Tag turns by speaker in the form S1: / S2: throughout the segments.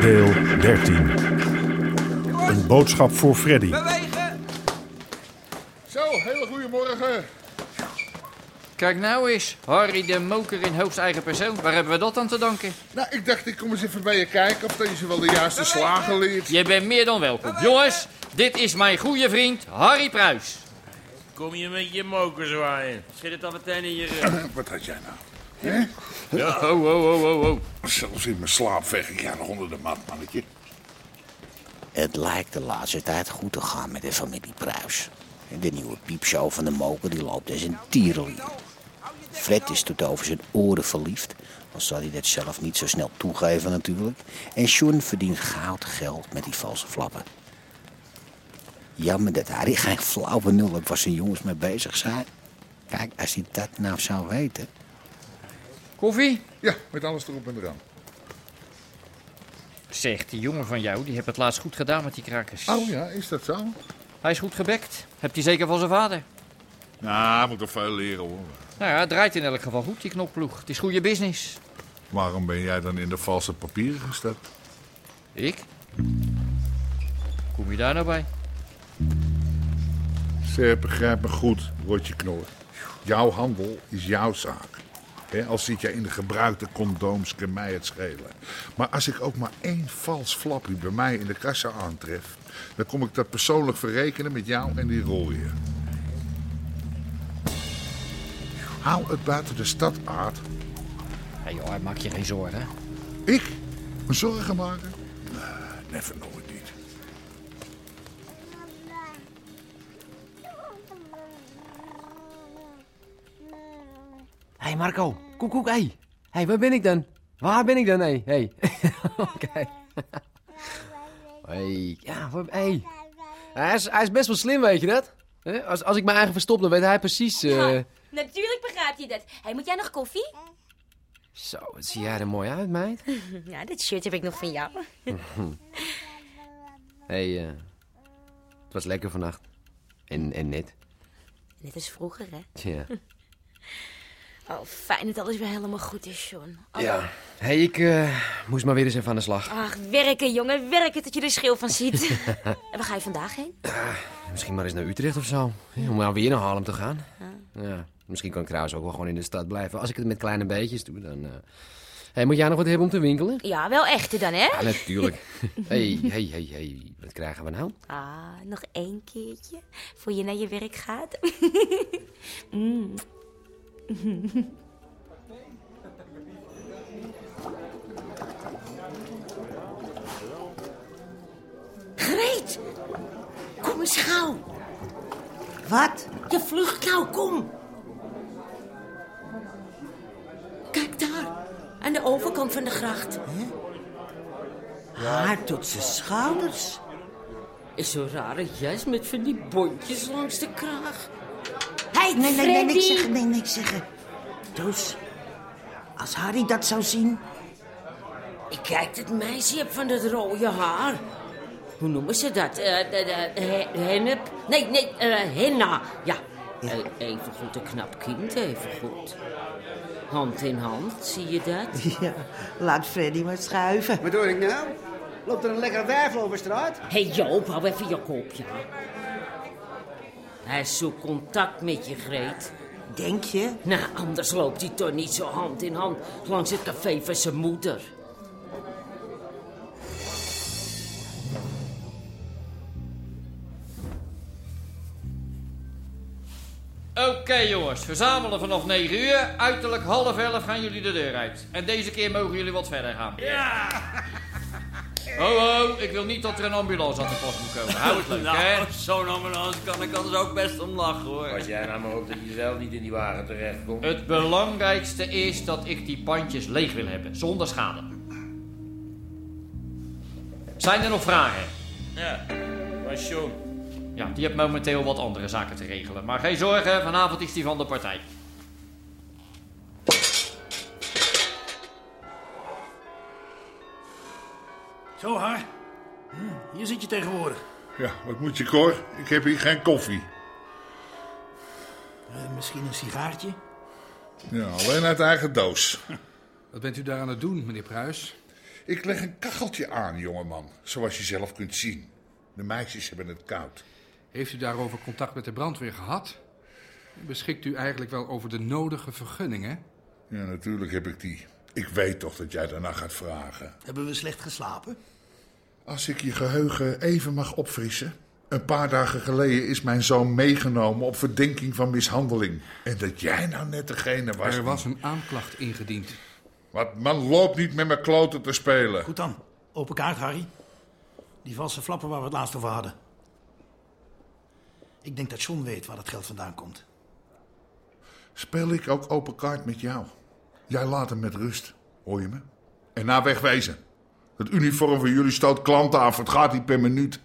S1: Deel 13. Een boodschap voor Freddy.
S2: Bewegen!
S3: Zo, hele goede morgen.
S2: Kijk nou eens, Harry de Moker in hoogst eigen persoon. Waar hebben we dat aan te danken?
S3: Nou, ik dacht ik kom eens even bij je kijken of dat je ze wel de juiste slagen leert.
S2: Je bent meer dan welkom. Jongens, dit is mijn goede vriend Harry Pruis.
S4: Kom je met je moker zwaaien? Schiet het dan meteen in je rug.
S3: Wat had jij nou?
S2: Oh, oh, oh, oh, oh.
S3: Zelfs in mijn slaap veeg ik ja nog onder de mat, mannetje.
S5: Het lijkt de laatste tijd goed te gaan met de familie Pruis. De nieuwe piepshow van de moker die loopt als een tierenlier. Fred is tot over zijn oren verliefd, al zal hij dat zelf niet zo snel toegeven natuurlijk. En John verdient goud geld met die valse flappen. Jammer dat Harry geen flauw benul op waar zijn jongens mee bezig zijn. Kijk, als hij dat nou zou weten.
S2: Koffie?
S3: Ja, met alles erop en eraan.
S2: Zeg, die jongen van jou, die heeft het laatst goed gedaan met die krakers.
S3: Oh ja, is dat zo?
S2: Hij is goed gebekt. Hebt hij zeker van zijn vader.
S3: Nou, moet er veel leren hoor.
S2: Nou ja, het draait in elk geval goed, die knopploeg. Het is goede business.
S3: Waarom ben jij dan in de valse papieren gestapt?
S2: Ik? Kom je daar nou bij?
S3: Ze begrijp me goed, Rotje Knor. Jouw handel is jouw zaak. Hè, al zit jij in de gebruikte condooms, kan mij het schelen. Maar als ik ook maar één vals flappie bij mij in de kassa aantref... dan kom ik dat persoonlijk verrekenen met jou en die rooien. Hou het buiten de stad, Aard.
S2: Hé joh, maak je geen zorgen.
S3: Ik? Me zorgen maken? Nee, never nooit niet.
S6: Hé hey Marco, koek koek, hé. Hey. hey, waar ben ik dan? Waar ben ik dan, hé? Hey? Hey. Kijk. Hey, ja, waar, hey. Hij, is, hij is best wel slim, weet je dat? Hè? Als, als ik mijn eigen verstop, dan weet hij precies... eh,
S7: Ja, natuurlijk begrijp je dat. Hey, moet jij nog koffie?
S6: Zo, wat zie jij er mooi uit, meid.
S7: Ja, dit shirt heb ik nog van jou.
S6: Hé, hey, eh, het was lekker vannacht. En, en net.
S7: Net als vroeger, hè?
S6: Tja.
S7: Oh, fijn dat alles weer helemaal goed is, John. Oh.
S6: Ja. Hé, hey, ik eh, moest maar weer eens even aan de slag.
S7: Ach, werken, jongen. Werken dat je er schil van ziet. en waar ga je vandaag heen?
S6: Misschien maar eens naar Utrecht of zo. Ja, om nou weer naar Harlem te gaan. Ja. Misschien kan ik trouwens ook wel gewoon in de stad blijven. Als ik het met kleine beetjes doe, dan... eh. hey, moet jij nog wat hebben om te winkelen?
S7: Ja, wel echte dan, hè?
S6: Ja, natuurlijk. hey, hey, hey, hey. Wat krijgen we nou?
S7: Ah, nog één keertje. Voor je naar je werk gaat. Mm.
S8: Greet! Kom eens gauw. Wat? Je vlucht nou, kom. Kijk daar, aan de overkant van de gracht.
S9: Haar tot zijn schouders.
S8: Is zo'n rare jas met van die bondjes langs de kraag.
S9: Hey, nee, nee, nee, niks
S7: Freddy.
S9: zeggen, nee, niks zeggen. Dus, als Harry dat zou zien...
S8: Ik kijk dat meisje op van dat rode haar. Hoe noemen ze dat? Eh, eh, eh, he- hennep? Nee, nee, eh, henna. Ja, Eh, even goed een knap kind, even goed. Hand in hand, zie je dat?
S9: Ja, laat Freddy maar schuiven.
S10: Wat doe ik nou? Loopt er een lekkere wijf over straat?
S8: Hé hey Joop, hou even je kop, ja. Hij zoekt contact met je, Greet.
S9: Denk je?
S8: Nou, anders loopt hij toch niet zo hand in hand langs het café van zijn moeder.
S2: Oké jongens, verzamelen vanaf 9 uur. Uiterlijk half 11 gaan jullie de deur uit. En deze keer mogen jullie wat verder gaan. Ho, ho, ik wil niet dat er een ambulance aan de pas moet komen. Hou het leuk,
S4: nou,
S2: hè?
S4: zo'n ambulance kan ik anders ook best om lachen, hoor.
S2: Pas jij
S4: nou maar op dat je zelf niet in die wagen terechtkomt.
S2: Het belangrijkste is dat ik die pandjes leeg wil hebben, zonder schade. Zijn er nog vragen?
S4: Ja, was jong.
S2: Ja, die heeft momenteel wat andere zaken te regelen. Maar geen zorgen, vanavond is die van de partij.
S11: Zo, Har. Hm, Hier zit je tegenwoordig.
S3: Ja, wat moet je, Cor? Ik heb hier geen koffie.
S11: Eh, misschien een sigaartje?
S3: Ja, alleen uit eigen doos.
S12: Wat bent u daar aan het doen, meneer Pruis?
S3: Ik leg een kacheltje aan, jongeman. Zoals je zelf kunt zien. De meisjes hebben het koud.
S12: Heeft u daarover contact met de brandweer gehad? Beschikt u eigenlijk wel over de nodige vergunningen?
S3: Ja, natuurlijk heb ik die. Ik weet toch dat jij daarna gaat vragen.
S11: Hebben we slecht geslapen?
S3: Als ik je geheugen even mag opfrissen. Een paar dagen geleden is mijn zoon meegenomen op verdenking van mishandeling. En dat jij nou net degene was.
S12: Er was
S3: die-
S12: een aanklacht ingediend.
S3: Wat, man, loop niet met mijn kloten te spelen.
S11: Goed dan. Open kaart, Harry. Die valse flappen waar we het laatst over hadden. Ik denk dat John weet waar dat geld vandaan komt.
S3: Speel ik ook open kaart met jou. Jij laat hem met rust, hoor je me? En na wegwezen. Het uniform van jullie stoot klanten af. Het gaat niet per minuut.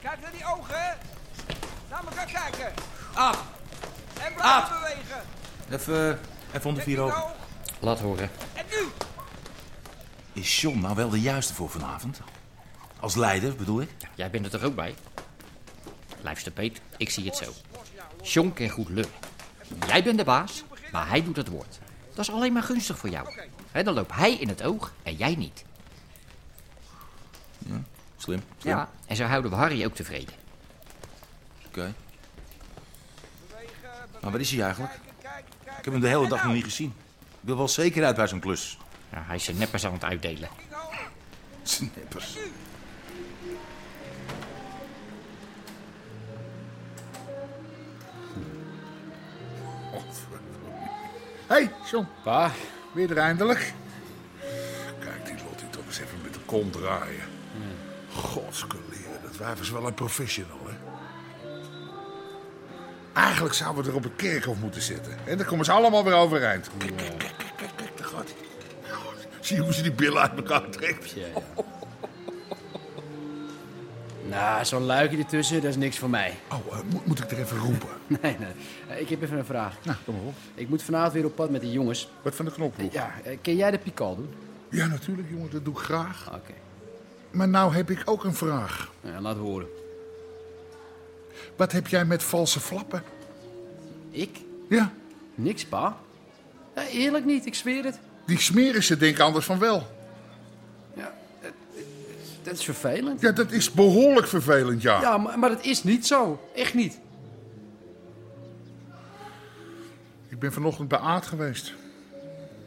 S13: Kijk naar die ogen. Laat me gaan kijken.
S14: Af.
S13: En blijf
S14: Af.
S13: bewegen.
S14: Even, even onder vier ogen.
S2: Laat horen.
S13: En nu.
S14: Is John nou wel de juiste voor vanavond? Als leider, bedoel ik?
S2: Jij bent er toch ook bij? Luister, Peet, ik zie het zo. John kan goed lullen. Jij bent de baas, maar hij doet het woord. Dat is alleen maar gunstig voor jou. Hè, dan loopt hij in het oog en jij niet.
S14: Ja, slim. slim.
S2: Ja, en zo houden we Harry ook tevreden.
S14: Oké. Maar waar is hij eigenlijk? Ik heb hem de hele dag nog niet gezien. Ik wil wel zeker uit bij zo'n klus.
S2: Ja, hij is zijn neppers aan het uitdelen.
S14: Zijn neppers.
S3: Hé, hey, John. Pa. Weer er eindelijk. Kijk, die Lottie toch eens even met de kont draaien. Godskeleren, dat wijf is wel een professional, hè? Eigenlijk zouden we er op het kerkhof moeten zitten. En dan komen ze allemaal weer overeind. Kijk, kijk, kijk, kijk, kijk, kijk, daar gaat hij. Zie je hoe ze die billen uit elkaar trekt?
S15: Nou, zo'n luikje ertussen, dat is niks voor mij.
S3: Oh, moet ik er even roepen?
S15: nee, nee. Eh, Ik heb even een vraag.
S3: Nou, kom maar op.
S15: Ik moet vanavond weer op pad met de jongens.
S3: Wat van de knoproep?
S15: Ja, eh, ken jij de pikal doen?
S3: Ja, natuurlijk, jongen, dat doe ik graag.
S15: Oké. Nou
S3: Maar nou heb ik ook een vraag.
S15: Ja, laat horen.
S3: Wat heb jij met valse flappen?
S15: Ik?
S3: Ja.
S15: Niks, pa. Ja, eerlijk niet, ik zweer het.
S3: Die smeren ze denken anders van wel.
S15: Dat is vervelend.
S3: Ja, dat is behoorlijk vervelend, ja.
S15: Ja, maar, maar dat is niet zo. Echt niet.
S3: Ik ben vanochtend bij Aad geweest.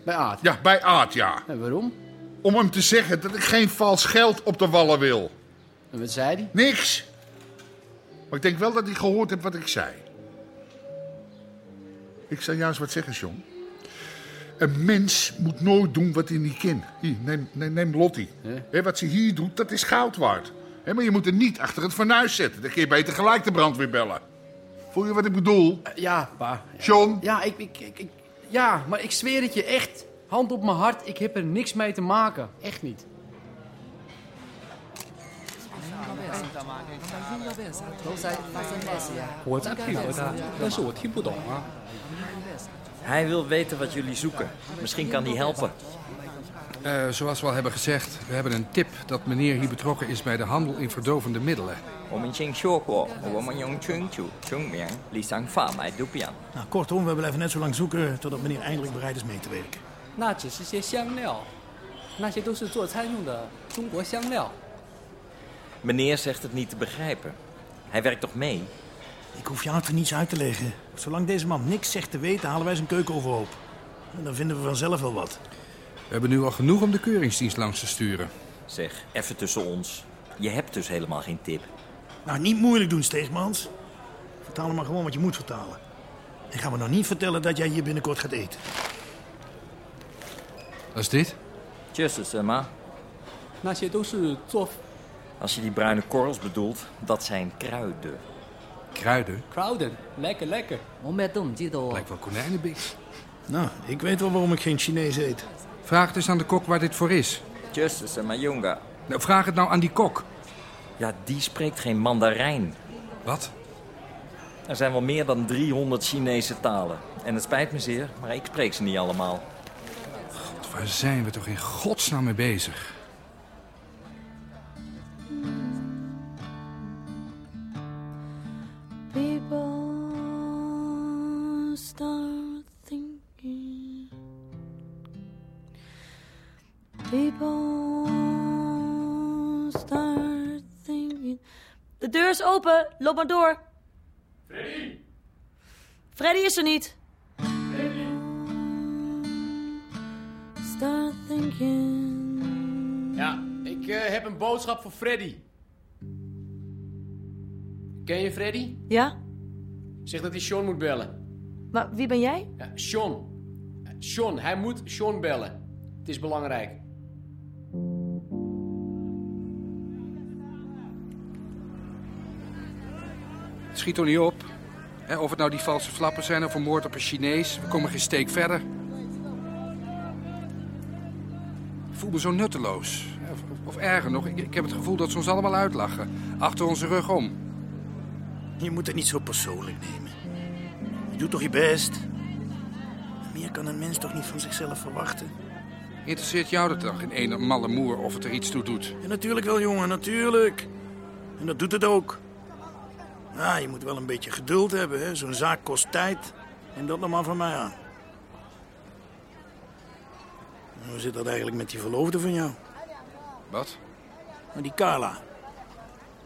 S15: Bij Aad?
S3: Ja, bij Aad, ja.
S15: En waarom?
S3: Om hem te zeggen dat ik geen vals geld op de wallen wil.
S15: En wat zei hij?
S3: Niks. Maar ik denk wel dat hij gehoord heeft wat ik zei. Ik zou juist wat zeggen, John. Een mens moet nooit doen wat hij niet kan. Hier, neem, neem, neem Lottie. Hè, wat ze hier doet, dat is goud waard. Hè, maar je moet er niet achter het fornuis zetten. Dan kun je beter gelijk de brandweer bellen. Voel je wat ik bedoel?
S15: Ja, pa.
S3: John?
S15: Ja, ik, ik, ik, ik- ja, maar ik zweer het je echt. Hand op mijn hart, ik heb er niks mee te maken. Echt niet.
S16: Hij wil weten wat jullie zoeken. Misschien kan hij helpen.
S12: Eh, zoals we al hebben gezegd, we hebben een tip dat meneer hier betrokken is bij de handel in verdovende middelen.
S16: 我们先说过，我们用春酒证明李想贩卖毒品，
S11: Nou, kortom, we hebben even net zo lang zoeken totdat meneer eindelijk bereid is mee te werken.
S17: 那只是些香料，那些都是做餐用的中国香料。
S16: Meneer zegt het niet te begrijpen. Hij werkt toch mee?
S11: Ik hoef je hart voor niets uit te leggen. Zolang deze man niks zegt te weten, halen wij zijn keuken overhoop. En dan vinden we vanzelf wel wat.
S12: We hebben nu al genoeg om de keuringsdienst langs te sturen.
S16: Zeg, even tussen ons. Je hebt dus helemaal geen tip.
S11: Nou, niet moeilijk doen, Steegmans. Vertaal hem maar gewoon wat je moet vertalen. En ga me nou niet vertellen dat jij hier binnenkort gaat eten.
S8: Wat is dit?
S18: Justus, Emma. Als je die bruine korrels bedoelt, dat zijn kruiden.
S8: Kruiden?
S19: Crowden, lekker, lekker.
S8: Lijkt wel konijnenbix.
S11: Nou, ik weet wel waarom ik geen Chinees eet.
S8: Vraag dus aan de kok waar dit voor is.
S18: Justus en Mayunga.
S8: Nou, vraag het nou aan die kok.
S18: Ja, die spreekt geen Mandarijn.
S8: Wat?
S18: Er zijn wel meer dan 300 Chinese talen. En het spijt me zeer, maar ik spreek ze niet allemaal.
S8: Waar zijn we toch in godsnaam mee bezig?
S7: People start thinking. People start thinking.
S20: De deur is open, loop maar door. Freddy is er niet.
S7: Start thinking.
S2: Ja, ik eh, heb een boodschap voor Freddy. Ken je Freddy?
S20: Ja?
S2: Zeg dat hij Sean moet bellen.
S20: Maar wie ben jij?
S2: Ja, Sean. Eh, Sean, hij moet Sean bellen. Het is belangrijk.
S8: Het schiet toch niet op? Hè, of het nou die valse flappen zijn of een moord op een Chinees, we komen geen steek verder. Ik voel me zo nutteloos. Hè, Of, of- of erger nog, ik, ik heb het gevoel dat ze ons allemaal uitlachen. Achter onze rug
S21: Nou,
S8: om.
S11: Je moet het niet zo persoonlijk nemen. Je doet toch je best? Meer kan een mens toch niet van zichzelf verwachten?
S8: Interesseert jou dat dan in ene malle moer of het er iets toe doet?
S11: Ja, natuurlijk wel, jongen, natuurlijk. En dat doet het ook. Nou, je moet wel een beetje geduld hebben, hè. Zo'n zaak kost tijd. Neem dat nog maar van mij aan. En Hoe zit dat eigenlijk met die verloofde van jou?
S8: Wat?
S11: Maar die Carla.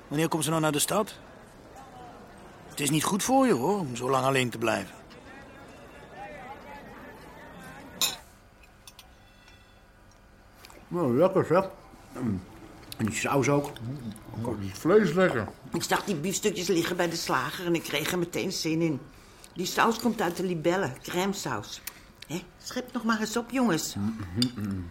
S11: Wanneer komt ze nou naar de stad? Het is niet goed voor je, hoor, om zo lang alleen te blijven.
S21: Nou, lekker zeg. Mm. En die saus ook.
S3: Het vlees lekker.
S9: Ik zag die biefstukjes liggen bij de slager en ik kreeg er meteen zin in. Die saus komt uit de libellen, crème saus. Hé, schep nog maar eens op, jongens.
S21: Mm,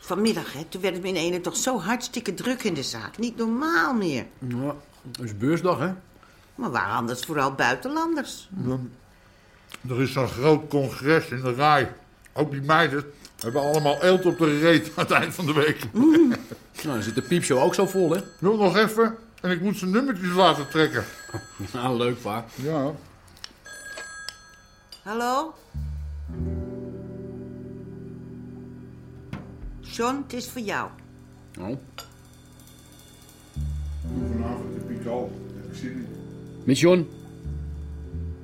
S9: Vanmiddag, hè, toen werd het me in ene toch zo hartstikke druk in de zaak. Niet normaal meer.
S21: Ja, het is beursdag, hè?
S9: Maar waar anders vooral buitenlanders?
S3: Er is zo'n groot congres in de rij. Ook die meiden hebben allemaal eelt op de reet aan het eind van de week.
S21: Nou, dan zit de piepshow ook zo vol, hè?
S3: Nog, nog even en ik moet zijn nummertjes laten trekken.
S21: Nou, leuk, pa.
S3: Ja.
S9: Hallo? John, het is voor jou.
S21: Oh.
S3: Vanavond heb ik al. Ik zit niet.
S22: Met John.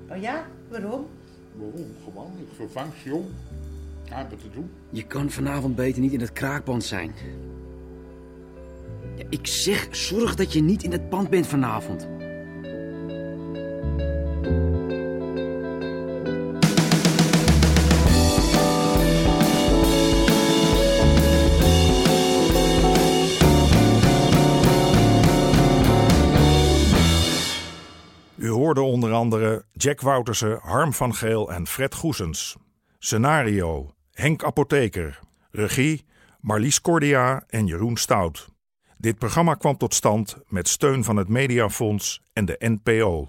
S9: Oh ja? Waarom?
S3: Waarom? Gewoon, ik vervang John. Hij heeft het te doen.
S22: Je kan vanavond beter niet in het kraakband zijn. Ja, ik zeg, zorg dat je niet in het pand bent vanavond.
S1: U hoorde onder andere Jack Woutersen, Harm van Geel en Fred Goesens. Scenario: Henk Apotheker. Regie: Marlies Cordia en Jeroen Stout. Dit programma kwam tot stand met steun van het Mediafonds en de NPO.